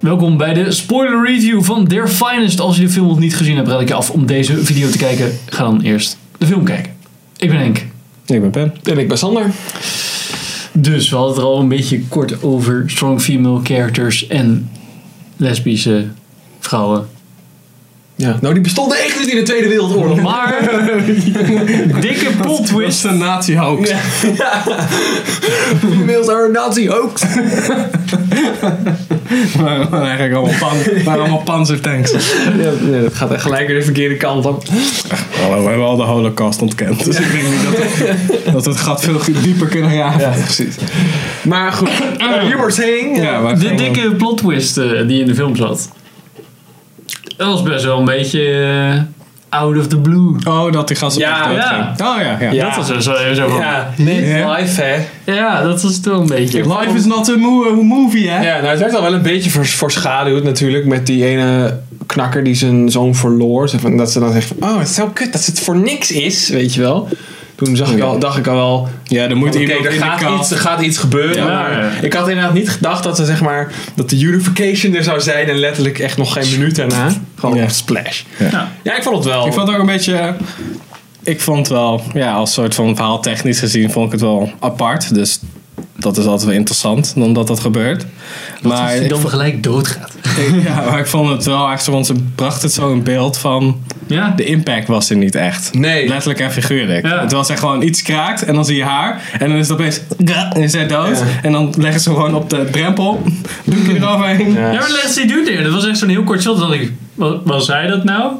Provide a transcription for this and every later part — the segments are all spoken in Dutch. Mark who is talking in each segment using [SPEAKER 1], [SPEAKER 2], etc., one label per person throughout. [SPEAKER 1] Welkom bij de spoiler review van Their Finest. Als je de film nog niet gezien hebt, raad ik je af om deze video te kijken. Ga dan eerst de film kijken. Ik ben Henk.
[SPEAKER 2] Ik ben Pam.
[SPEAKER 3] En ik ben Sander.
[SPEAKER 1] Dus we hadden het er al een beetje kort over strong female characters en lesbische vrouwen.
[SPEAKER 3] Ja. Nou, die bestonden echt niet in de Tweede Wereldoorlog.
[SPEAKER 1] Maar, dikke plot
[SPEAKER 3] Dat is
[SPEAKER 1] twist.
[SPEAKER 3] een nazi-hoax. Ja. Females are a nazi-hoax.
[SPEAKER 2] Maar eigenlijk allemaal pan.
[SPEAKER 3] Maar allemaal panzertanks.
[SPEAKER 2] Ja, nee, dat gaat echt.
[SPEAKER 3] Gelijk weer de verkeerde kant op.
[SPEAKER 2] Hallo, we hebben al de holocaust ontkend. Dus ik denk niet dat, we- dat we het gat veel dieper kunnen raken. Ja, precies. Ah,
[SPEAKER 3] Maar goed, you were saying.
[SPEAKER 2] Ja, maar
[SPEAKER 1] De dikke plot twist eh, die in de film zat. Dat was best wel een beetje eh, out of the blue.
[SPEAKER 2] Oh, dat die gasten
[SPEAKER 3] Ja,
[SPEAKER 2] echt dood
[SPEAKER 1] ja.
[SPEAKER 2] zijn. Oh ja, ja.
[SPEAKER 3] Ja.
[SPEAKER 1] Dat was er zo even van. Ja.
[SPEAKER 3] Ja, nee,
[SPEAKER 2] Ja.
[SPEAKER 3] live hè.
[SPEAKER 1] dat was het wel een beetje.
[SPEAKER 2] Life is not a mo- movie, hè?
[SPEAKER 3] Ja, nou, het werd al wel een beetje vers- voorschaduwd natuurlijk met die ene knakker die zijn zoon verloor. Zo van- Dat ze dan zegt van, oh, het is zo kut dat het voor niks is, weet je wel. Toen zag ik al, dacht ik al wel,
[SPEAKER 2] Ja, er moet
[SPEAKER 3] Oké,
[SPEAKER 2] iemand
[SPEAKER 3] er,
[SPEAKER 2] in de
[SPEAKER 3] gaat
[SPEAKER 2] kast.
[SPEAKER 3] iets, er gaat iets gebeuren.
[SPEAKER 1] Ja.
[SPEAKER 3] maar ik had inderdaad niet gedacht dat, ze, zeg maar, dat de unification er zou zijn. En letterlijk echt nog geen minuut daarna. Gewoon
[SPEAKER 2] Ja.
[SPEAKER 3] splash.
[SPEAKER 1] Ja.
[SPEAKER 3] Ja, ik vond het wel.
[SPEAKER 2] Ik vond het ook een beetje. eh, Ik vond wel, ja, als soort van verhaal technisch gezien, vond ik het wel apart. Dus dat is altijd wel interessant, dan dat dat gebeurt. Maar
[SPEAKER 1] Als je
[SPEAKER 2] ik,
[SPEAKER 1] dan gelijk doodgaat.
[SPEAKER 2] vond- ja, maar ik vond het wel echt zo, want ze bracht het zo in beeld van.
[SPEAKER 1] Ja?
[SPEAKER 2] De impact was er niet echt.
[SPEAKER 3] Nee.
[SPEAKER 2] Letterlijk en figuurlijk.
[SPEAKER 1] Ja.
[SPEAKER 2] Het was echt gewoon iets kraakt en dan zie je haar. En dan is het opeens. En is zij dood. En dan leggen ze gewoon op de drempel. Doekje eroverheen.
[SPEAKER 3] Ja.
[SPEAKER 1] Ja, maar let's see dude neer. Dat was echt zo'n heel kort shot. Dat ik, wa- was zij dat nou?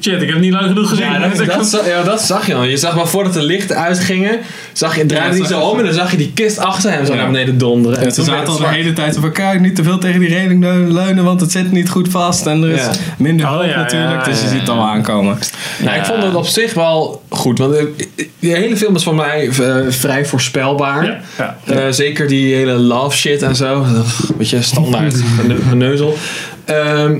[SPEAKER 1] Shit, ik heb niet lang genoeg gezien.
[SPEAKER 3] Ja, dat, dat, za- ja, dat zag je dan. Je zag maar voordat de lichten uitgingen, zag je, draaide
[SPEAKER 2] dat
[SPEAKER 3] hij
[SPEAKER 2] zag
[SPEAKER 3] zo
[SPEAKER 2] ik.
[SPEAKER 3] om en dan zag je die kist achter hem zo
[SPEAKER 2] Ja.
[SPEAKER 3] naar beneden donderen.
[SPEAKER 2] En ze
[SPEAKER 3] toen
[SPEAKER 2] zaten
[SPEAKER 3] werd
[SPEAKER 2] al
[SPEAKER 3] het
[SPEAKER 2] de
[SPEAKER 3] zwart.
[SPEAKER 2] hele tijd op elkaar. Niet te veel tegen die reling leu- leunen, want het zit niet goed vast. En er is
[SPEAKER 3] Ja.
[SPEAKER 2] minder
[SPEAKER 1] Oh,
[SPEAKER 2] hulp
[SPEAKER 1] ja, ja,
[SPEAKER 2] natuurlijk. dus je
[SPEAKER 1] ja,
[SPEAKER 2] ziet het al aankomen.
[SPEAKER 3] Nou, ik vond het op zich wel goed. Want eh, die hele film is voor mij eh, vrij voorspelbaar.
[SPEAKER 1] Ja, ja.
[SPEAKER 3] Eh, zeker die hele love shit en zo. Ugh, beetje standaard gene- geneuzel. Ehm,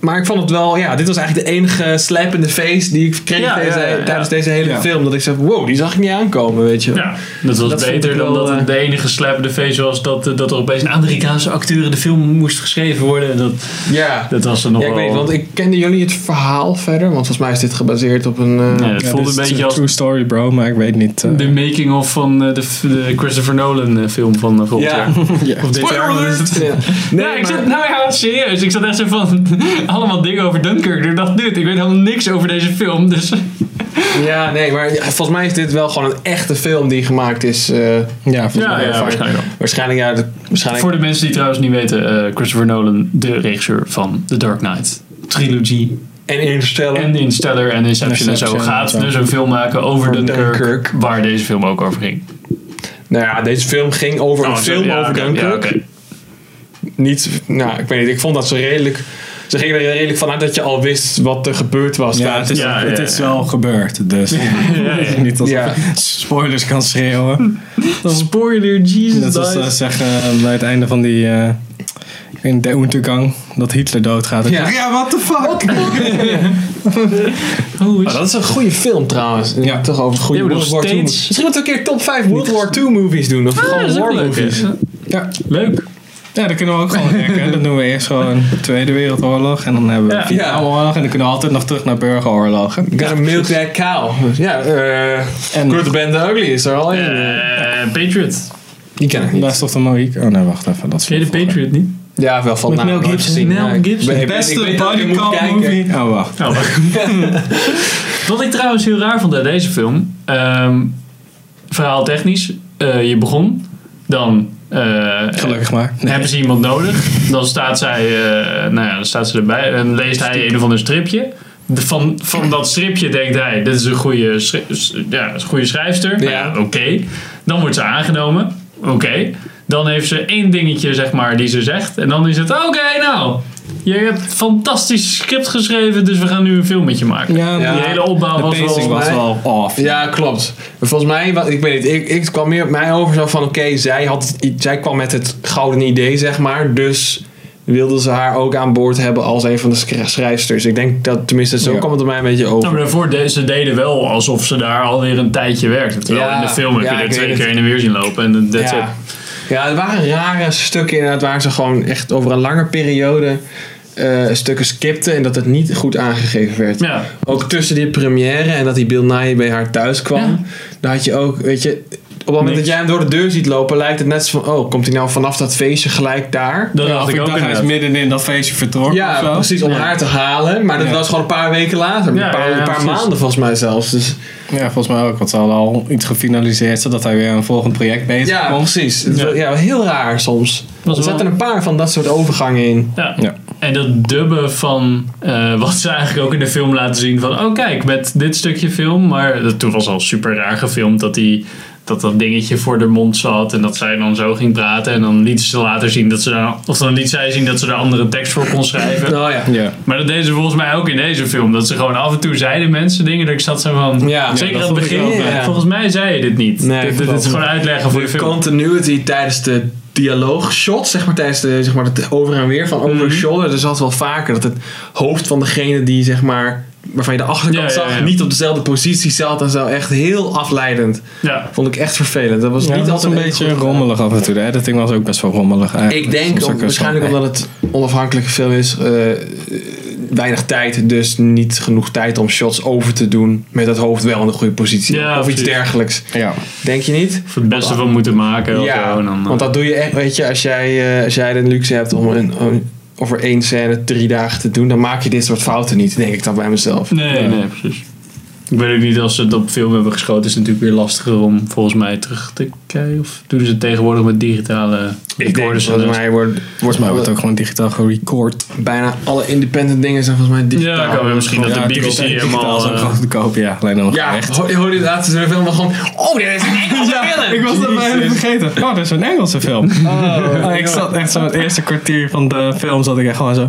[SPEAKER 3] maar ik vond het wel, ja, dit was eigenlijk de enige slap in de face die ik kreeg
[SPEAKER 1] Ja, ja,
[SPEAKER 3] deze-
[SPEAKER 1] ja, ja.
[SPEAKER 3] tijdens deze hele
[SPEAKER 2] Ja.
[SPEAKER 3] film. Dat ik zei, wow, die zag ik niet aankomen, weet je. wel.
[SPEAKER 1] Ja, dat was
[SPEAKER 3] Dat vond
[SPEAKER 1] beter
[SPEAKER 3] ik
[SPEAKER 1] dan
[SPEAKER 3] wel,
[SPEAKER 1] dat
[SPEAKER 3] eh,
[SPEAKER 1] het de enige slappende feest was dat, eh, dat er opeens een Amerikaanse acteur in de film moest geschreven worden. En Dat,
[SPEAKER 3] Ja.
[SPEAKER 1] dat was er nog
[SPEAKER 3] Ja, ik
[SPEAKER 1] wel...
[SPEAKER 3] weet niet, want ik kende jullie het verhaal verder. Want volgens mij is dit gebaseerd op een... eh,
[SPEAKER 1] Ja, het
[SPEAKER 2] Ja,
[SPEAKER 1] voelde
[SPEAKER 2] dit
[SPEAKER 1] een
[SPEAKER 2] is
[SPEAKER 1] beetje als
[SPEAKER 2] True story, bro, maar ik weet niet. eh,
[SPEAKER 1] de making-of van eh, de, f- de Christopher Nolan eh, film van eh, volgend jaar.
[SPEAKER 3] ja.
[SPEAKER 1] Of dit
[SPEAKER 3] Spoiler
[SPEAKER 1] jaar, maar is
[SPEAKER 3] alert!
[SPEAKER 1] het-
[SPEAKER 3] Ja.
[SPEAKER 1] Nee, ik
[SPEAKER 3] maar-
[SPEAKER 1] zat, nou ja, serieus. Ik zat echt zo van, allemaal dingen over Dunkirk. Ik dacht, dude, ik weet helemaal niks over deze film. Dus
[SPEAKER 3] Ja, nee, maar ja, volgens mij is dit wel gewoon een echte film die gemaakt is. eh,
[SPEAKER 2] ja, volgens
[SPEAKER 1] ja,
[SPEAKER 2] mij.
[SPEAKER 3] eh,
[SPEAKER 1] ja,
[SPEAKER 3] van-
[SPEAKER 1] waarschijnlijk wel.
[SPEAKER 3] Waarschijnlijk, ja, de- waarschijnlijk.
[SPEAKER 1] Voor de mensen die trouwens niet weten, eh, Christopher Nolan, de regisseur van The Dark Knight trilogie
[SPEAKER 3] En Interstellar.
[SPEAKER 1] en Insteller en Inception en zo,
[SPEAKER 2] Inception,
[SPEAKER 1] gaat
[SPEAKER 2] ja.
[SPEAKER 1] dus een film maken over
[SPEAKER 3] Over
[SPEAKER 1] Dunkirk,
[SPEAKER 3] Dunkirk.
[SPEAKER 1] waar deze film ook over ging.
[SPEAKER 3] Nou ja, deze film ging over een
[SPEAKER 1] Oh, zo,
[SPEAKER 3] film
[SPEAKER 1] ja,
[SPEAKER 3] over
[SPEAKER 1] oké,
[SPEAKER 3] Dunkirk.
[SPEAKER 1] ja, oké.
[SPEAKER 3] Niet, nou, ik weet niet, ik vond dat ze redelijk. Ze gingen er redelijk vanuit dat je al wist wat er gebeurd was.
[SPEAKER 2] Ja,
[SPEAKER 3] daar.
[SPEAKER 2] het is,
[SPEAKER 1] Ja, ja,
[SPEAKER 2] het
[SPEAKER 1] ja.
[SPEAKER 2] is wel gebeurd, dus niet als
[SPEAKER 3] Ja.
[SPEAKER 2] spoilers kan schreeuwen.
[SPEAKER 1] Spoiler, Jesus
[SPEAKER 2] Net als ze
[SPEAKER 1] Christ.
[SPEAKER 2] zeggen eh, bij het einde van die eh, in de Untergang dat Hitler doodgaat.
[SPEAKER 3] Ja.
[SPEAKER 2] what the fuck?
[SPEAKER 1] Hoe Oh, is
[SPEAKER 3] Maar dat is een goede film trouwens.
[SPEAKER 2] Ja.
[SPEAKER 3] toch over goede
[SPEAKER 1] Ja, maar
[SPEAKER 3] World
[SPEAKER 1] nog
[SPEAKER 3] War II.
[SPEAKER 1] steeds-
[SPEAKER 3] Misschien moeten we een keer top 5 World War II movies doen. Of
[SPEAKER 1] Ah, dat
[SPEAKER 3] gewoon
[SPEAKER 1] is ook
[SPEAKER 3] war
[SPEAKER 1] leuk,
[SPEAKER 3] movies.
[SPEAKER 1] hè?
[SPEAKER 2] Ja.
[SPEAKER 1] Leuk.
[SPEAKER 2] Ja, dat kunnen we ook gewoon rekken. Dat doen we eerst gewoon Tweede Wereldoorlog. En dan hebben we
[SPEAKER 1] Ja.
[SPEAKER 2] Vietnamoorlog. En dan kunnen we altijd nog terug naar burgeroorlogen.
[SPEAKER 3] Got a milk that cow. Ja, eh.
[SPEAKER 2] En-
[SPEAKER 3] Kurt Band the Ugly is er al in.
[SPEAKER 1] Eh, Patriot.
[SPEAKER 3] Die ken ik niet.
[SPEAKER 2] Last of the Mohicans. Oh nee, wacht even. Dat is
[SPEAKER 1] Ken je de
[SPEAKER 2] van
[SPEAKER 1] Patriot niet?
[SPEAKER 3] Ja, wel van
[SPEAKER 2] Met
[SPEAKER 3] naam
[SPEAKER 2] Mel
[SPEAKER 3] nooit
[SPEAKER 2] Gibson.
[SPEAKER 3] gezien,
[SPEAKER 1] Mel
[SPEAKER 3] maar ik
[SPEAKER 1] Gibson.
[SPEAKER 3] ben- ik
[SPEAKER 2] voren.
[SPEAKER 3] ben-
[SPEAKER 2] Beste
[SPEAKER 3] ik weet dat je
[SPEAKER 2] body
[SPEAKER 3] moet
[SPEAKER 2] cop
[SPEAKER 3] kijken.
[SPEAKER 2] movie. Oh wacht.
[SPEAKER 1] Nou, Wat ik trouwens heel raar vond aan deze film, ehm, verhaal technisch, eh, je begon, dan eh,
[SPEAKER 2] Gelukkig maar.
[SPEAKER 1] hebben ze iemand nodig, dan staat zij, eh, nou ja, dan staat ze erbij en leest hij een of ander stripje. De- Van, van dat stripje denkt hij, dit is een goede, schri- s- ja, een goede schrijfster. Nou Ja.
[SPEAKER 3] Ja.
[SPEAKER 1] Oké. Dan wordt ze aangenomen. Oké. Dan heeft ze één dingetje, zeg maar, die ze zegt. En dan is het, oké, nou, je hebt fantastisch script geschreven, dus we gaan nu een film met je maken.
[SPEAKER 2] Ja,
[SPEAKER 3] Ja.
[SPEAKER 1] Die hele opbouw
[SPEAKER 2] de
[SPEAKER 1] was
[SPEAKER 2] pacing
[SPEAKER 1] wel...
[SPEAKER 2] was wel off.
[SPEAKER 3] Ja, klopt. Maar Volgens mij, wat- ik weet niet, ik, ik het kwam meer op mij over zo van, oké, zij had het i- zij kwam met het gouden idee, zeg maar, dus wilden ze haar ook aan boord hebben als een van de scr- schrijfsters. Ik denk dat, tenminste, zo
[SPEAKER 2] Ja.
[SPEAKER 3] kwam het op mij een beetje
[SPEAKER 1] Nou,
[SPEAKER 3] over.
[SPEAKER 1] maar daarvoor de, ze deden wel alsof ze daar alweer een tijdje werkte. Terwijl
[SPEAKER 3] Ja,
[SPEAKER 1] in de film heb
[SPEAKER 3] ja,
[SPEAKER 1] je er
[SPEAKER 3] ik
[SPEAKER 1] twee
[SPEAKER 3] weet
[SPEAKER 1] keer
[SPEAKER 3] het.
[SPEAKER 1] in en weer zien lopen en that's
[SPEAKER 3] Ja.
[SPEAKER 1] it.
[SPEAKER 3] Ja, er waren rare stukken inderdaad waar ze gewoon echt over een lange periode eh, stukken skipten en dat het niet goed aangegeven werd.
[SPEAKER 1] Ja.
[SPEAKER 3] Ook tussen die première en dat die Bill Nye bij haar thuis kwam,
[SPEAKER 1] Ja.
[SPEAKER 3] daar had je ook, weet je, op het moment
[SPEAKER 1] Niks.
[SPEAKER 3] dat jij hem door de deur ziet lopen, lijkt het net zo van, oh, komt hij nou vanaf dat feestje gelijk daar?
[SPEAKER 1] Dat dacht
[SPEAKER 2] of
[SPEAKER 1] ik ook
[SPEAKER 2] dacht, hij is
[SPEAKER 1] inderdaad.
[SPEAKER 2] midden in dat feestje vertrokken
[SPEAKER 3] Ja,
[SPEAKER 2] of zo.
[SPEAKER 3] precies, om
[SPEAKER 1] Ja.
[SPEAKER 3] haar te halen. Maar dat
[SPEAKER 2] Ja.
[SPEAKER 3] was gewoon een paar weken later.
[SPEAKER 1] Ja,
[SPEAKER 3] een paar,
[SPEAKER 1] ja, ja,
[SPEAKER 3] een paar
[SPEAKER 1] precies.
[SPEAKER 3] maanden volgens mij zelfs. Dus,
[SPEAKER 2] Ja, volgens mij ook. Want ze hadden al iets gefinaliseerd zodat hij weer een volgend project bezig
[SPEAKER 3] ja,
[SPEAKER 2] kon.
[SPEAKER 3] precies. Het was- Ja. heel raar soms.
[SPEAKER 1] Was
[SPEAKER 3] Er
[SPEAKER 1] wel-
[SPEAKER 3] zaten een paar van dat soort overgangen in.
[SPEAKER 1] Ja.
[SPEAKER 2] Ja.
[SPEAKER 1] En dat dubbe van eh, wat ze eigenlijk ook in de film laten zien van oh kijk, met dit stukje film. Maar dat, toen was al super raar gefilmd dat die, dat, dat dingetje voor de mond zat en dat zij dan zo ging praten. En dan liet ze later zien dat ze daar, of dan liet zij zien dat ze daar andere tekst voor kon schrijven.
[SPEAKER 3] Oh ja.
[SPEAKER 2] Ja.
[SPEAKER 1] Maar dat deden ze volgens mij ook in deze film. Dat ze gewoon af en toe zeiden mensen dingen dat ik zat zo van...
[SPEAKER 3] Ja,
[SPEAKER 1] zeker
[SPEAKER 2] ja,
[SPEAKER 1] aan
[SPEAKER 2] dat
[SPEAKER 1] het
[SPEAKER 2] vond ik
[SPEAKER 1] begin.
[SPEAKER 3] ook, ja.
[SPEAKER 1] Volgens mij zei je dit niet.
[SPEAKER 3] Nee,
[SPEAKER 1] dit, dit
[SPEAKER 3] klopt.
[SPEAKER 1] is gewoon uitleggen voor de
[SPEAKER 3] De
[SPEAKER 1] film.
[SPEAKER 3] continuity tijdens de dialoogshots, zeg maar tijdens de, zeg maar, het over en weer van over
[SPEAKER 1] Mhm.
[SPEAKER 3] the shoulder. Er zat wel vaker dat het hoofd van degene die, zeg maar, waarvan je de achterkant
[SPEAKER 1] Ja, ja,
[SPEAKER 3] zag,
[SPEAKER 1] ja.
[SPEAKER 3] niet op dezelfde positie zat en zo. Echt heel afleidend.
[SPEAKER 1] Ja.
[SPEAKER 3] Vond ik echt vervelend. Dat was
[SPEAKER 2] Ja,
[SPEAKER 3] niet
[SPEAKER 2] dat was
[SPEAKER 3] altijd
[SPEAKER 2] een
[SPEAKER 3] even
[SPEAKER 2] beetje
[SPEAKER 3] goed gedaan.
[SPEAKER 2] rommelig af en toe. De editing was ook best wel rommelig eigenlijk.
[SPEAKER 3] Ik denk
[SPEAKER 2] Soms
[SPEAKER 3] om-
[SPEAKER 2] ook wel zo,
[SPEAKER 3] waarschijnlijk
[SPEAKER 2] nee.
[SPEAKER 3] omdat het onafhankelijke film is. eh, eh, weinig tijd, dus niet genoeg tijd om shots over te doen. Met het hoofd wel in de goede positie.
[SPEAKER 1] Ja,
[SPEAKER 3] of iets
[SPEAKER 1] precies.
[SPEAKER 3] dergelijks.
[SPEAKER 2] Ja.
[SPEAKER 3] Denk je niet?
[SPEAKER 1] Voor het beste van moeten maken. of zo, en dan, eh,
[SPEAKER 3] want dat doe je echt. Weet je, als jij, eh, als jij de luxe hebt om een, om- over één scène drie dagen te doen, dan maak je dit soort fouten niet, denk ik dan bij mezelf.
[SPEAKER 1] Nee, nee, precies. Ik weet ook niet, als ze het op film hebben geschoten, is het natuurlijk weer lastiger om volgens mij terug te kijken. Of doen ze het tegenwoordig met digitale recorders? en
[SPEAKER 3] volgens
[SPEAKER 1] zo?
[SPEAKER 3] mij wordt, wordt
[SPEAKER 2] dus Volgens mij wordt ook gewoon digitaal gerecord.
[SPEAKER 3] bijna alle independent dingen zijn volgens mij digitaal.
[SPEAKER 1] Ja, kan wel. Misschien dat de BBC
[SPEAKER 2] digitaal-
[SPEAKER 1] helemaal,
[SPEAKER 2] digitaal zijn
[SPEAKER 1] eh,
[SPEAKER 2] gewoon te koop, ja. Alleen dan
[SPEAKER 3] Ja,
[SPEAKER 2] echt.
[SPEAKER 3] hoor hoor je het laatste film maar gewoon. Oh, dit is een Engelse film!
[SPEAKER 2] Ik was dat
[SPEAKER 3] Jezus.
[SPEAKER 2] bijna vergeten. Oh, dat is een Engelse film. Oh, ik zat echt zo het eerste kwartier van de film zat ik echt gewoon zo...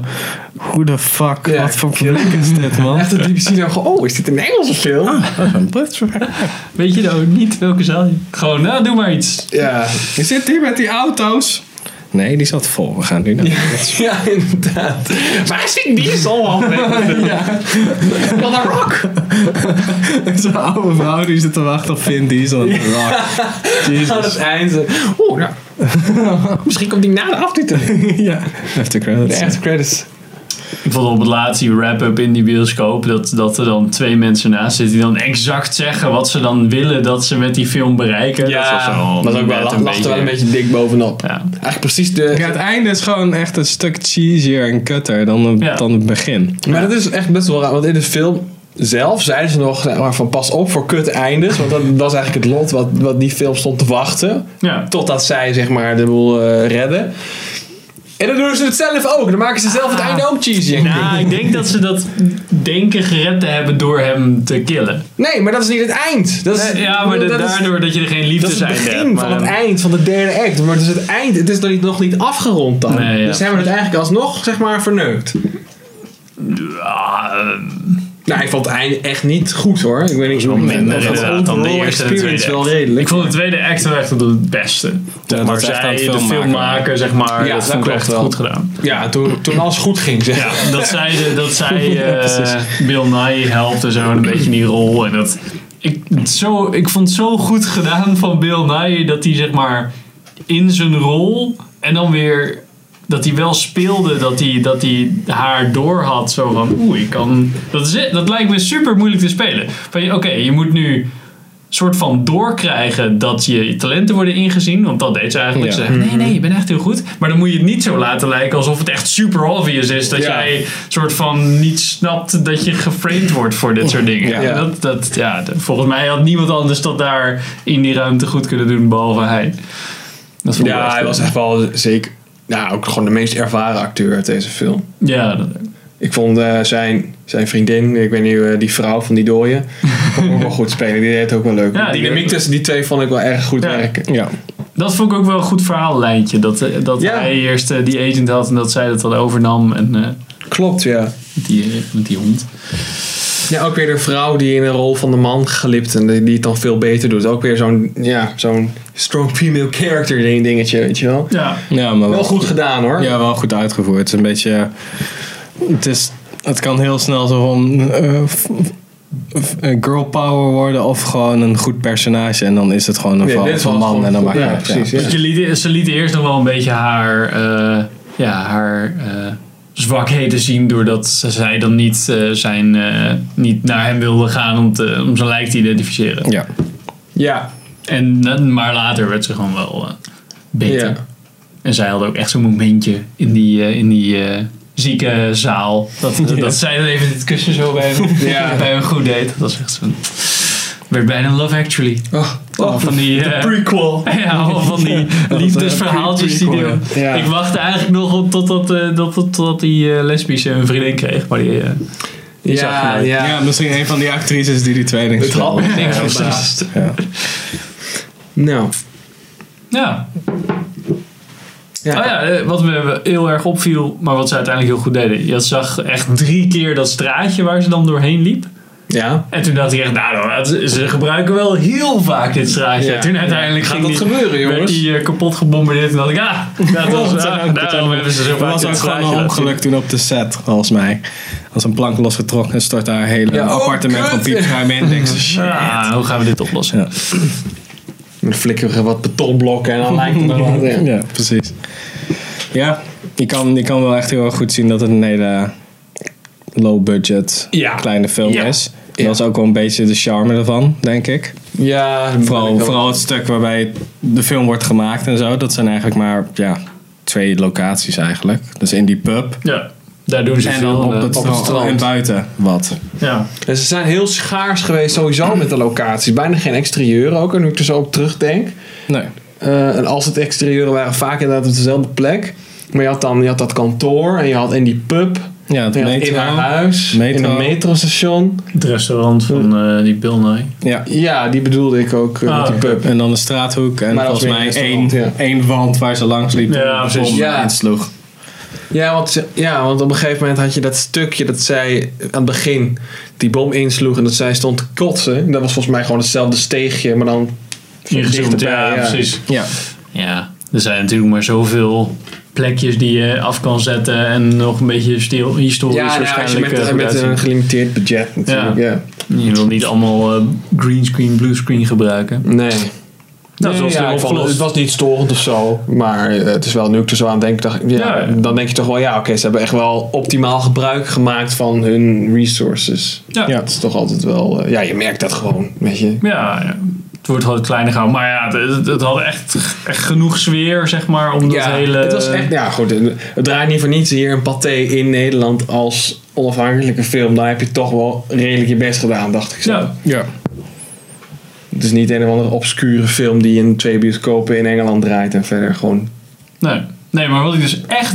[SPEAKER 2] Hoe de fuck?
[SPEAKER 3] Ja.
[SPEAKER 2] Wat voor plek is dit, man?
[SPEAKER 3] Echt dat BBC dan gewoon, oh, is dit een Engelse film?
[SPEAKER 2] een Brits
[SPEAKER 1] Weet je nou niet welke zaal je... Gewoon, nou, doe maar iets.
[SPEAKER 3] Ja.
[SPEAKER 2] Je zit hier met die auto's. Nee, die zat vol. We gaan nu naar...
[SPEAKER 3] ja, inderdaad. Waar zit Diesel al Ja. Wat een rock!
[SPEAKER 2] Zo'n oude vrouw die zit te wachten op Vin Diesel. en The Rock.
[SPEAKER 3] Aan
[SPEAKER 2] dus-
[SPEAKER 3] het einde. Oeh, nou. Misschien komt die na de aftiteling.
[SPEAKER 2] ja. After credits.
[SPEAKER 3] Echt credits.
[SPEAKER 1] Ik vond op het laatst die wrap-up in die bioscoop, dat, dat er dan twee mensen naast zitten die dan exact zeggen wat ze dan willen dat ze met die film bereiken. dat was, wel
[SPEAKER 3] was ook wel,
[SPEAKER 1] net
[SPEAKER 3] lacht, er wel een beetje dik bovenop.
[SPEAKER 1] Ja.
[SPEAKER 3] Eigenlijk precies de...
[SPEAKER 2] Ja, het einde is gewoon echt een stuk cheesier en kutter dan,
[SPEAKER 1] Ja.
[SPEAKER 2] dan het begin.
[SPEAKER 3] Maar dat is echt best wel raar, want in de film zelf zeiden ze nog zeg maar, van pas op voor kut eindes. Want dat was eigenlijk het lot wat, wat die film stond te wachten.
[SPEAKER 1] Ja.
[SPEAKER 3] Totdat zij zeg maar de boel eh, redden. En dan doen ze het zelf ook. Dan maken ze zelf het
[SPEAKER 1] Ah.
[SPEAKER 3] einde ook cheesy.
[SPEAKER 1] Nou, ik denk dat ze dat denken gered te hebben door hem te killen. Eh,
[SPEAKER 3] Nee, maar dat is niet het eind. Dat is,
[SPEAKER 1] Ja, maar dat-
[SPEAKER 3] dat is-
[SPEAKER 1] daardoor dat je er geen
[SPEAKER 3] Dat
[SPEAKER 1] liefde
[SPEAKER 3] is het
[SPEAKER 1] zijn
[SPEAKER 3] begin van
[SPEAKER 1] eh,
[SPEAKER 3] het eind van de derde act. Maar het is het eind. Het is nog niet, nog niet afgerond dan.
[SPEAKER 1] Nee, ja.
[SPEAKER 3] Dus ze hebben het eigenlijk alsnog, zeg maar, verneukt. e-
[SPEAKER 1] Ah, eh,
[SPEAKER 3] Nou, ik vond het einde echt niet goed hoor. Ik weet niet
[SPEAKER 1] wel minder inderdaad dan de
[SPEAKER 3] overall
[SPEAKER 1] eerste en de
[SPEAKER 3] experience
[SPEAKER 1] tweede
[SPEAKER 3] wel
[SPEAKER 1] act.
[SPEAKER 3] redelijk.
[SPEAKER 1] Ik vond de tweede act wel echt het beste.
[SPEAKER 2] dat
[SPEAKER 1] maar
[SPEAKER 2] is echt aan
[SPEAKER 1] zij,
[SPEAKER 2] het
[SPEAKER 1] de
[SPEAKER 2] filmmaken.
[SPEAKER 1] filmmaker, zeg maar,
[SPEAKER 3] Ja,
[SPEAKER 1] dat
[SPEAKER 3] dat
[SPEAKER 1] vond ik
[SPEAKER 3] klopt
[SPEAKER 1] echt
[SPEAKER 3] wel.
[SPEAKER 1] goed gedaan.
[SPEAKER 3] Ja, toen, toen alles goed ging, zeg. Ja.
[SPEAKER 1] Ja, dat zij, de- dat zij eh, Bill Nye helpt en zo, en een beetje in die rol. En dat, ik, het zo, ik vond het zo goed gedaan van Bill Nye dat hij zeg maar in zijn rol en dan weer dat hij wel speelde, dat hij, dat hij haar door had. Zo van, oeh, ik kan... Dat, is, het. dat lijkt me super moeilijk te spelen. Van, je- oké, je moet nu soort van doorkrijgen dat je talenten worden ingezien. Want dat deed ze eigenlijk.
[SPEAKER 2] Ja.
[SPEAKER 1] Ze zei, nee, nee, je bent echt heel goed. Maar dan moet je het niet zo laten lijken alsof het echt super obvious is. Dat
[SPEAKER 3] Ja.
[SPEAKER 1] jij soort van niet snapt dat je geframed wordt voor dit soort dingen.
[SPEAKER 2] Ja.
[SPEAKER 1] En Dat, dat, ja, d- volgens mij had niemand anders dat daar in die ruimte goed kunnen doen, behalve hij. Dat vond ik wel
[SPEAKER 3] Ja,
[SPEAKER 1] echt
[SPEAKER 3] hij
[SPEAKER 1] goed.
[SPEAKER 3] was echt wel zeker... Nou, ook gewoon de meest ervaren acteur uit deze film.
[SPEAKER 1] Ja, dat,
[SPEAKER 3] Ik vond eh, zijn, zijn vriendin, ik weet niet, eh, die vrouw van die dooie, vond ik ook wel goed spelen. Die deed het ook wel leuk.
[SPEAKER 1] Ja,
[SPEAKER 3] de
[SPEAKER 1] die-
[SPEAKER 3] dynamiek tussen die twee vond ik wel erg goed
[SPEAKER 1] Ja.
[SPEAKER 3] werken.
[SPEAKER 2] Ja.
[SPEAKER 1] dat vond ik ook wel een goed verhaallijntje. Dat, eh, dat
[SPEAKER 3] Ja.
[SPEAKER 1] hij eerst eh, die agent had en dat zij dat dan overnam. En eh,
[SPEAKER 3] Klopt, ja.
[SPEAKER 1] met die, eh, met die hond.
[SPEAKER 3] Ja, ook weer de vrouw die in de rol van de man gelipt en die die het dan veel beter doet. Ook weer zo'n, ja, zo'n strong female character ding- dingetje, weet je wel.
[SPEAKER 1] Ja,
[SPEAKER 2] ja, maar
[SPEAKER 3] Wel goed gedaan hoor.
[SPEAKER 2] Ja, wel goed uitgevoerd. Het is een beetje... Het, is, het kan heel snel zo van... eh, f- eh, girl power worden of gewoon een goed personage. En dan is het gewoon een
[SPEAKER 3] Ja,
[SPEAKER 2] verhaal
[SPEAKER 3] dit
[SPEAKER 2] van
[SPEAKER 3] was
[SPEAKER 2] man.
[SPEAKER 3] gewoon
[SPEAKER 2] En dan
[SPEAKER 3] goed.
[SPEAKER 2] maakt het
[SPEAKER 3] Ja,
[SPEAKER 2] uit,
[SPEAKER 3] precies, ja.
[SPEAKER 1] Want je liet- Dus ze lieten eerst nog wel een beetje haar, eh, ja, haar eh, zwakheden zien. Doordat ze- zij dan niet, eh, zijn, eh, niet naar hem wilde gaan om, te, om zijn lijk te identificeren.
[SPEAKER 2] Ja.
[SPEAKER 3] Ja,
[SPEAKER 1] En, eh, maar later werd ze gewoon wel eh, beter.
[SPEAKER 3] Ja.
[SPEAKER 1] En zij had ook echt zo'n momentje in die, eh, in die eh, zieke zaal. Dat, dat zij dan even dit kussen zo bij hem,
[SPEAKER 3] Ja.
[SPEAKER 1] bij hem goed deed. Dat was echt zo'n... Werd bijna Love Actually.
[SPEAKER 3] Oh,
[SPEAKER 1] Allemaal van die... eh,
[SPEAKER 3] prequel.
[SPEAKER 1] ja, allemaal van die liefdesverhaaltjes die die
[SPEAKER 3] prequel, eh, ja.
[SPEAKER 1] Ik wachtte eigenlijk nog op totdat, eh, dat, dat, dat die eh, lesbische een vriendin kreeg. Maar die... eh, die zag
[SPEAKER 3] Ja,
[SPEAKER 1] gelijk.
[SPEAKER 3] ja.
[SPEAKER 2] Ja. misschien een van die actrices die die tweeling
[SPEAKER 3] Het had
[SPEAKER 2] speelde.
[SPEAKER 3] me niks verbaasd.
[SPEAKER 1] precies.
[SPEAKER 2] Ja.
[SPEAKER 3] Nou.
[SPEAKER 1] Ja.
[SPEAKER 3] Ja.
[SPEAKER 1] Oh ja, eh, wat me heel erg opviel, maar wat ze uiteindelijk heel goed deden. Je zag echt drie keer dat straatje waar ze dan doorheen liep.
[SPEAKER 3] Ja.
[SPEAKER 1] En toen dacht ik echt, nou, dat- ze gebruiken wel heel vaak dit straatje.
[SPEAKER 3] Ja.
[SPEAKER 1] Toen uiteindelijk
[SPEAKER 3] Gaat
[SPEAKER 1] ging
[SPEAKER 3] dat
[SPEAKER 1] die-
[SPEAKER 3] gebeuren,
[SPEAKER 1] werd
[SPEAKER 3] jongens?
[SPEAKER 1] die eh, kapot gebombardeerd. En dacht ik, ah, dat was,
[SPEAKER 2] Wat
[SPEAKER 1] ah,
[SPEAKER 2] dan ook, wat dan
[SPEAKER 1] daarom
[SPEAKER 2] ook.
[SPEAKER 1] hebben ze zo
[SPEAKER 2] Er
[SPEAKER 1] vaak
[SPEAKER 2] was
[SPEAKER 1] dit
[SPEAKER 2] ook gewoon
[SPEAKER 1] straatje
[SPEAKER 2] een
[SPEAKER 1] laten zien.
[SPEAKER 2] ongeluk toen op de set, volgens mij. Als een plank losgetrokken en stort haar hele
[SPEAKER 3] Ja, oh,
[SPEAKER 2] appartement
[SPEAKER 3] kut.
[SPEAKER 2] van piepschuim in. Denk ze, shit.
[SPEAKER 1] Ja, hoe gaan we dit oplossen?
[SPEAKER 2] Ja.
[SPEAKER 3] Dan flikkeren we wat betonblokken en dan lijkt het wel. Ja.
[SPEAKER 2] Ja, precies. Ja, je kan, je kan wel echt heel erg goed zien dat het een hele low budget
[SPEAKER 3] Ja.
[SPEAKER 2] kleine film
[SPEAKER 1] Ja.
[SPEAKER 2] is.
[SPEAKER 3] Ja.
[SPEAKER 2] Dat is ook wel een beetje de charme ervan, denk ik.
[SPEAKER 3] Ja, dat ben ik
[SPEAKER 2] Vooral,
[SPEAKER 3] wel-
[SPEAKER 2] vooral het stuk waarbij de film wordt gemaakt en zo. Dat zijn eigenlijk maar ja, twee locaties eigenlijk. Dus in die pub
[SPEAKER 1] Ja, daar doen ze
[SPEAKER 2] en
[SPEAKER 1] veel.
[SPEAKER 2] dan op
[SPEAKER 1] eh,
[SPEAKER 2] het,
[SPEAKER 3] op het strand.
[SPEAKER 2] strand. En buiten wat.
[SPEAKER 1] ja.
[SPEAKER 3] En ze zijn heel schaars geweest sowieso met de locaties. Bijna geen exterieur ook. En nu ik er zo op terugdenk.
[SPEAKER 2] Nee.
[SPEAKER 3] Eh, en als het exterieuren waren, vaak inderdaad op dezelfde plek. Maar je had dan je had dat kantoor en je had in die pub.
[SPEAKER 2] Ja, het
[SPEAKER 3] En je had in
[SPEAKER 2] metro.
[SPEAKER 3] haar huis. In
[SPEAKER 2] Metro.
[SPEAKER 3] een metrostation.
[SPEAKER 1] Het restaurant van eh, die Bill Nye.
[SPEAKER 2] Ja.
[SPEAKER 3] Ja, die bedoelde ik ook eh,
[SPEAKER 1] Ah,
[SPEAKER 3] met die
[SPEAKER 1] oké.
[SPEAKER 3] pub.
[SPEAKER 2] En dan de straathoek en
[SPEAKER 3] Maar dat
[SPEAKER 2] volgens
[SPEAKER 3] was weer
[SPEAKER 2] mij
[SPEAKER 3] een
[SPEAKER 2] één,
[SPEAKER 3] restaurant,
[SPEAKER 2] één wand waar ze langs liep
[SPEAKER 1] Ja,
[SPEAKER 2] en de
[SPEAKER 1] precies.
[SPEAKER 2] bom
[SPEAKER 3] Ja.
[SPEAKER 2] insloeg.
[SPEAKER 3] Ja want, ze- ja, want op een gegeven moment had je dat stukje dat zij aan het begin die bom insloeg en dat zij stond te kotsen. Dat was volgens mij gewoon hetzelfde steegje, maar dan
[SPEAKER 1] Ingezoomd,
[SPEAKER 3] dichterbij,
[SPEAKER 1] ja,
[SPEAKER 3] ja.
[SPEAKER 1] precies.
[SPEAKER 2] Ja.
[SPEAKER 1] Ja, er zijn natuurlijk maar zoveel plekjes die je af kan zetten en nog een beetje stil, historisch
[SPEAKER 3] ja, nou, als je
[SPEAKER 1] dus waarschijnlijk.
[SPEAKER 3] met,
[SPEAKER 1] eh,
[SPEAKER 3] met
[SPEAKER 1] goed
[SPEAKER 3] een
[SPEAKER 1] uitzien.
[SPEAKER 3] gelimiteerd budget natuurlijk. Ja.
[SPEAKER 1] Je wil niet allemaal eh, greenscreen, bluescreen gebruiken.
[SPEAKER 3] Nee.
[SPEAKER 1] Nou,
[SPEAKER 3] Nee,
[SPEAKER 1] zoals
[SPEAKER 3] ja,
[SPEAKER 1] het
[SPEAKER 3] ik vond, het
[SPEAKER 1] opgelost.
[SPEAKER 3] was niet storend of zo, maar eh, het is wel nu ik er zo aan denk, dacht, ik, ja,
[SPEAKER 1] Ja, ja.
[SPEAKER 3] dan denk je toch wel, ja oké, ze hebben echt wel optimaal gebruik gemaakt van hun resources.
[SPEAKER 1] Ja.
[SPEAKER 3] Dat is toch altijd wel, eh, ja je merkt dat gewoon, weet je.
[SPEAKER 1] Ja, ja. het wordt gewoon kleiner gehouden. Maar ja, het, het- het had echt, echt genoeg sfeer, zeg maar, om dat
[SPEAKER 3] ja,
[SPEAKER 1] hele...
[SPEAKER 3] Het was echt, ja goed, het draait niet voor niets hier een paté in Nederland als onafhankelijke film. Dan heb je toch wel redelijk je best gedaan, dacht ik zo.
[SPEAKER 1] Ja,
[SPEAKER 2] Ja.
[SPEAKER 3] Het is niet een of andere obscure film die in twee bioscopen in Engeland draait en verder gewoon...
[SPEAKER 1] nee. nee, maar wat ik dus echt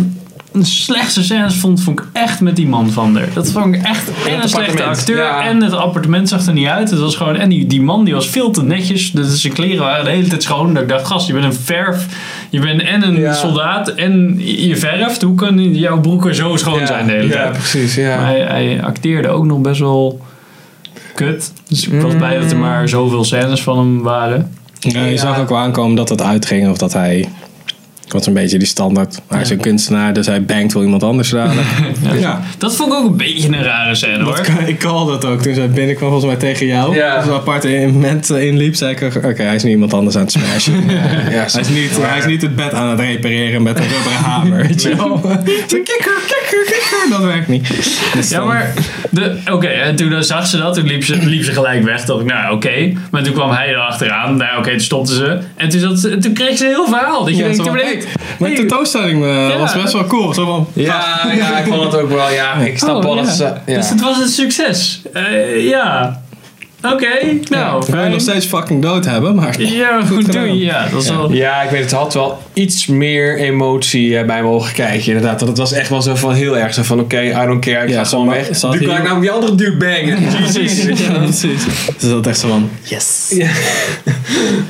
[SPEAKER 1] een slechtste scènes vond, vond ik echt met die man van der. Dat vond ik echt en een slechte
[SPEAKER 3] appartement,
[SPEAKER 1] acteur
[SPEAKER 3] ja.
[SPEAKER 1] en het appartement zag er niet uit. Het was gewoon, en die, die man die was veel te netjes. Dus zijn kleren waren de hele tijd schoon. Dat ik dacht, gast, je bent een verf, je bent en een
[SPEAKER 3] Ja.
[SPEAKER 1] soldaat en je verft. Hoe kan jouw broeken zo schoon zijn de hele
[SPEAKER 3] ja,
[SPEAKER 1] tijd?
[SPEAKER 3] precies, ja.
[SPEAKER 1] Maar hij, hij acteerde ook nog best wel kut. Dus ik
[SPEAKER 3] Mm.
[SPEAKER 1] was blij dat er maar zoveel scènes van hem waren.
[SPEAKER 2] Ja, je
[SPEAKER 3] Ja.
[SPEAKER 2] zag ook wel aankomen dat het uitging of dat hij. Het was een beetje die standaard. Hij is een kunstenaar, dus hij bangt wel iemand anders dadelijk. ja.
[SPEAKER 1] Dat vond ik ook een beetje een rare scène hoor.
[SPEAKER 2] Dat kan- ik call dat ook. Toen zij binnenkwam, volgens mij tegen jou.
[SPEAKER 3] Ja.
[SPEAKER 2] Als we apart in moment eh, inliep, zei ik: ook, Oké, hij is nu iemand anders aan het smashen.
[SPEAKER 3] ja,
[SPEAKER 2] hij, is niet, hij is niet het bed aan het repareren met een rubberen hamer. Weet je wel? Zo, Kikker, kikker, kikker. Dat werkt niet. Dus
[SPEAKER 1] Ja,
[SPEAKER 2] dan-
[SPEAKER 1] maar. de- Oké, en toen eh, zag ze dat, toen liep ze, liep ze gelijk weg. Dacht ik, nou oké. Maar toen kwam hij erachteraan. Nou oké, toen stopte ze. En toen, zat ze, toen kreeg ze heel verhaal. Dat je
[SPEAKER 2] Ja,
[SPEAKER 1] denkt,
[SPEAKER 2] zo van,
[SPEAKER 1] toen
[SPEAKER 2] hey,
[SPEAKER 1] ik-
[SPEAKER 2] Mijn
[SPEAKER 1] hey,
[SPEAKER 2] tentoonstelling eh, was best wel cool. Zo van,
[SPEAKER 3] Ja, Ah, ja, ik vond het ook wel, ja. Ik snap
[SPEAKER 1] oh,
[SPEAKER 3] wel
[SPEAKER 1] ja.
[SPEAKER 3] dat ze... Ja.
[SPEAKER 1] Dus het was een succes. Eh, ja. Oké, nou.
[SPEAKER 2] we gaan je
[SPEAKER 1] fijn.
[SPEAKER 2] nog steeds fucking dood hebben, maar.
[SPEAKER 1] Ja, goed
[SPEAKER 2] gedaan.
[SPEAKER 1] doen. Ja, dat was wel.
[SPEAKER 3] Ja, ik weet het, het had wel iets meer emotie eh, bij me mogen kijken, inderdaad. Want het was echt wel zo van heel erg zo van, oké, I don't care, ik
[SPEAKER 2] Ja,
[SPEAKER 3] ga
[SPEAKER 2] ze
[SPEAKER 3] gewoon
[SPEAKER 2] ma-
[SPEAKER 3] weg. Nu
[SPEAKER 2] ze
[SPEAKER 3] kan
[SPEAKER 2] had
[SPEAKER 3] ik
[SPEAKER 2] hier-
[SPEAKER 3] namelijk die andere dude bangen. Jezus.
[SPEAKER 2] Ja, precies. Dus dat echt zo van.
[SPEAKER 1] Yes.
[SPEAKER 3] Ja.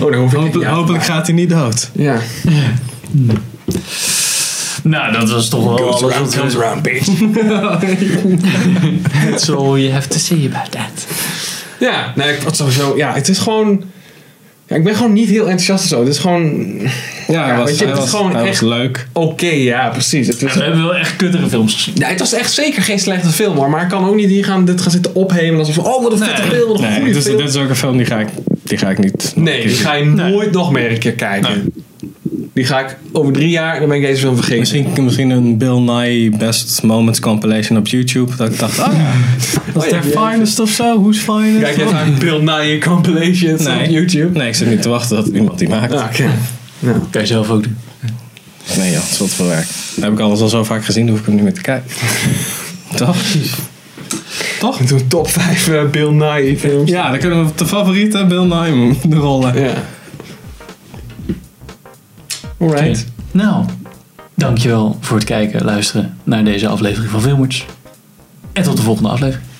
[SPEAKER 3] Oh, dan hoef ik
[SPEAKER 2] Hopelijk, hopelijk gaat hij niet dood.
[SPEAKER 3] Ja.
[SPEAKER 1] Nou, dat was toch
[SPEAKER 2] Oh,
[SPEAKER 1] wel alles wat we-
[SPEAKER 3] round, bitch.
[SPEAKER 1] That's all you have to say about that.
[SPEAKER 3] Ja, nee, ik vond sowieso... Ja, het is gewoon... Ja, ik ben gewoon niet heel enthousiast of zo. Het is gewoon
[SPEAKER 2] Ja, hij
[SPEAKER 3] Ja,
[SPEAKER 2] was,
[SPEAKER 3] weet je,
[SPEAKER 2] hij
[SPEAKER 3] het is
[SPEAKER 2] was,
[SPEAKER 3] gewoon
[SPEAKER 2] hij was
[SPEAKER 3] echt-
[SPEAKER 2] leuk.
[SPEAKER 3] oké, ja, precies. Het was,
[SPEAKER 1] We hebben wel echt kuttere films gezien.
[SPEAKER 3] Nee, het was echt zeker geen slechte film, hoor. Maar ik kan ook niet hier gaan, dit gaan zitten ophemelen alsof van, oh, wat een vette
[SPEAKER 1] Nee.
[SPEAKER 3] film, wat een
[SPEAKER 2] Nee,
[SPEAKER 3] goede
[SPEAKER 2] dit is,
[SPEAKER 3] film.
[SPEAKER 2] dit is ook een film die ga ik, die ga ik niet. nog
[SPEAKER 3] nee,
[SPEAKER 2] een
[SPEAKER 3] die
[SPEAKER 2] keer zien.
[SPEAKER 3] ga je nooit nog meer een keer kijken. Die ga ik over drie jaar, dan ben ik deze film vergeten.
[SPEAKER 2] Misschien, misschien een Bill Nye Best Moments compilation op YouTube. Dat ik dacht, ah ja, dat
[SPEAKER 3] Oh ja,
[SPEAKER 2] is their
[SPEAKER 3] die-
[SPEAKER 2] finest of zo. Who's finest?
[SPEAKER 3] Kijk je naar Bill Nye compilations
[SPEAKER 2] Nee.
[SPEAKER 3] op YouTube?
[SPEAKER 2] Nee, ik zit niet te wachten dat iemand die maakt.
[SPEAKER 3] Ah, oké.
[SPEAKER 1] Kan je zelf ook doen.
[SPEAKER 2] Nee joh, dat is wat voor werk. Dat heb ik alles al zo vaak gezien, dan hoef ik hem niet meer te kijken. Toch?
[SPEAKER 3] Toch? Ik doe top 5 eh, Bill Nye films.
[SPEAKER 2] Ja, dan kunnen we op de favoriete Bill Nye de rollen.
[SPEAKER 3] Ja. Alright.
[SPEAKER 1] Nou, dankjewel voor het kijken, luisteren naar deze aflevering van Filmers. En tot de volgende aflevering.